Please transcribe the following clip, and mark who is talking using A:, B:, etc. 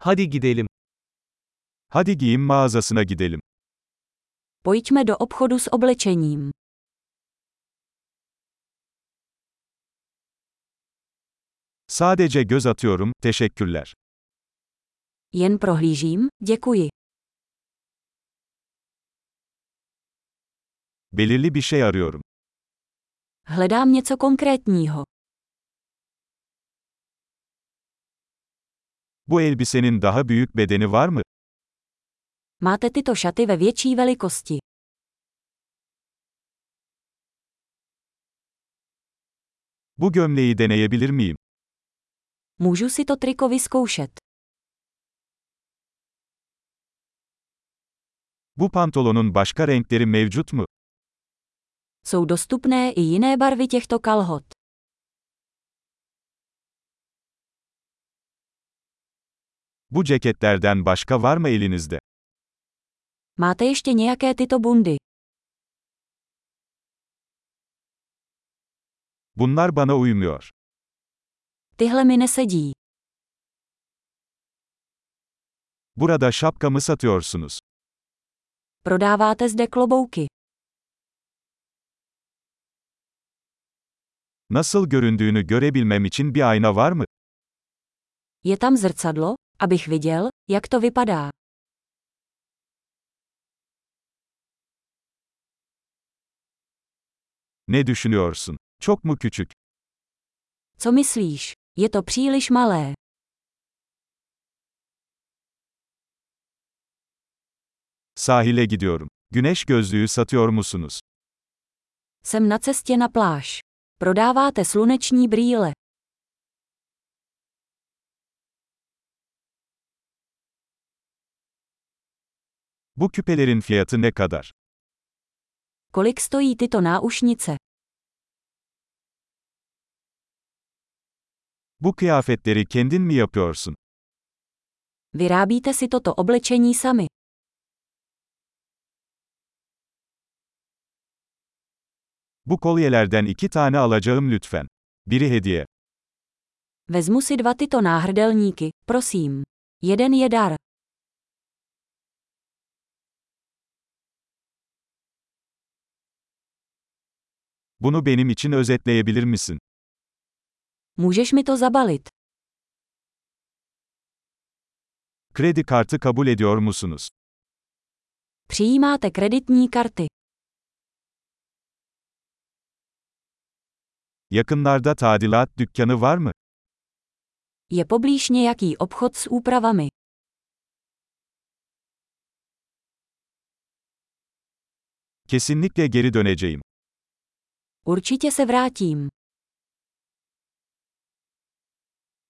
A: Hadi gidelim. Hadi giyim mağazasına gidelim.
B: Pojďme do obchodu s oblečením.
A: Sadece göz atıyorum, teşekkürler.
B: Jen prohlížím, děkuji.
A: Belirli bir şey arıyorum.
B: Hledám něco konkrétního.
A: Bu elbisenin daha büyük bedeni var mı?
B: Máte tyto šaty ve větší velikosti.
A: Bu gömleği deneyebilir miyim?
B: Můžu si to triko vyzkoušet.
A: Bu pantolonun başka renkleri mevcut mu?
B: Jsou dostupné i jiné barvy těchto kalhot.
A: Bu ceketlerden başka var mı elinizde?
B: Máte ještě nějaké tyto bundy?
A: Bunlar bana uymuyor.
B: Tyhle mi nesedí.
A: Burada şapkamı satıyorsunuz.
B: Prodáváte zde klobouky.
A: Nasıl göründüğünü görebilmem için bir ayna var mı?
B: Je tam zrcadlo, abych viděl, jak to vypadá.
A: Ne düşünüyorsun? Çok mu küçük?
B: Co myslíš? Je to příliš malé.
A: Sahile gidiyorum. Güneş gözlüğü satıyor musunuz?
B: Jsem na cestě na pláž. Prodáváte sluneční brýle.
A: Bu küpelerin fiyatı ne kadar?
B: Kolik stojí tyto náušnice?
A: Bu kıyafetleri kendin mi yapıyorsun?
B: Vyrábíte si toto oblečení sami.
A: Bu kolyelerden iki tane alacağım lütfen. Biri hediye.
B: Vezmu si dva tyto náhrdelníky, prosím. Jeden je dar.
A: Bunu benim için özetleyebilir misin?
B: Můžeš mi to zabalit.
A: Kredi kartı kabul ediyor musunuz?
B: Přijímáte kreditní karty.
A: Yakınlarda tadilat dükkanı var mı?
B: Je poblíž nějaký obchod s úpravami.
A: Kesinlikle geri döneceğim.
B: Určitě se vrátím.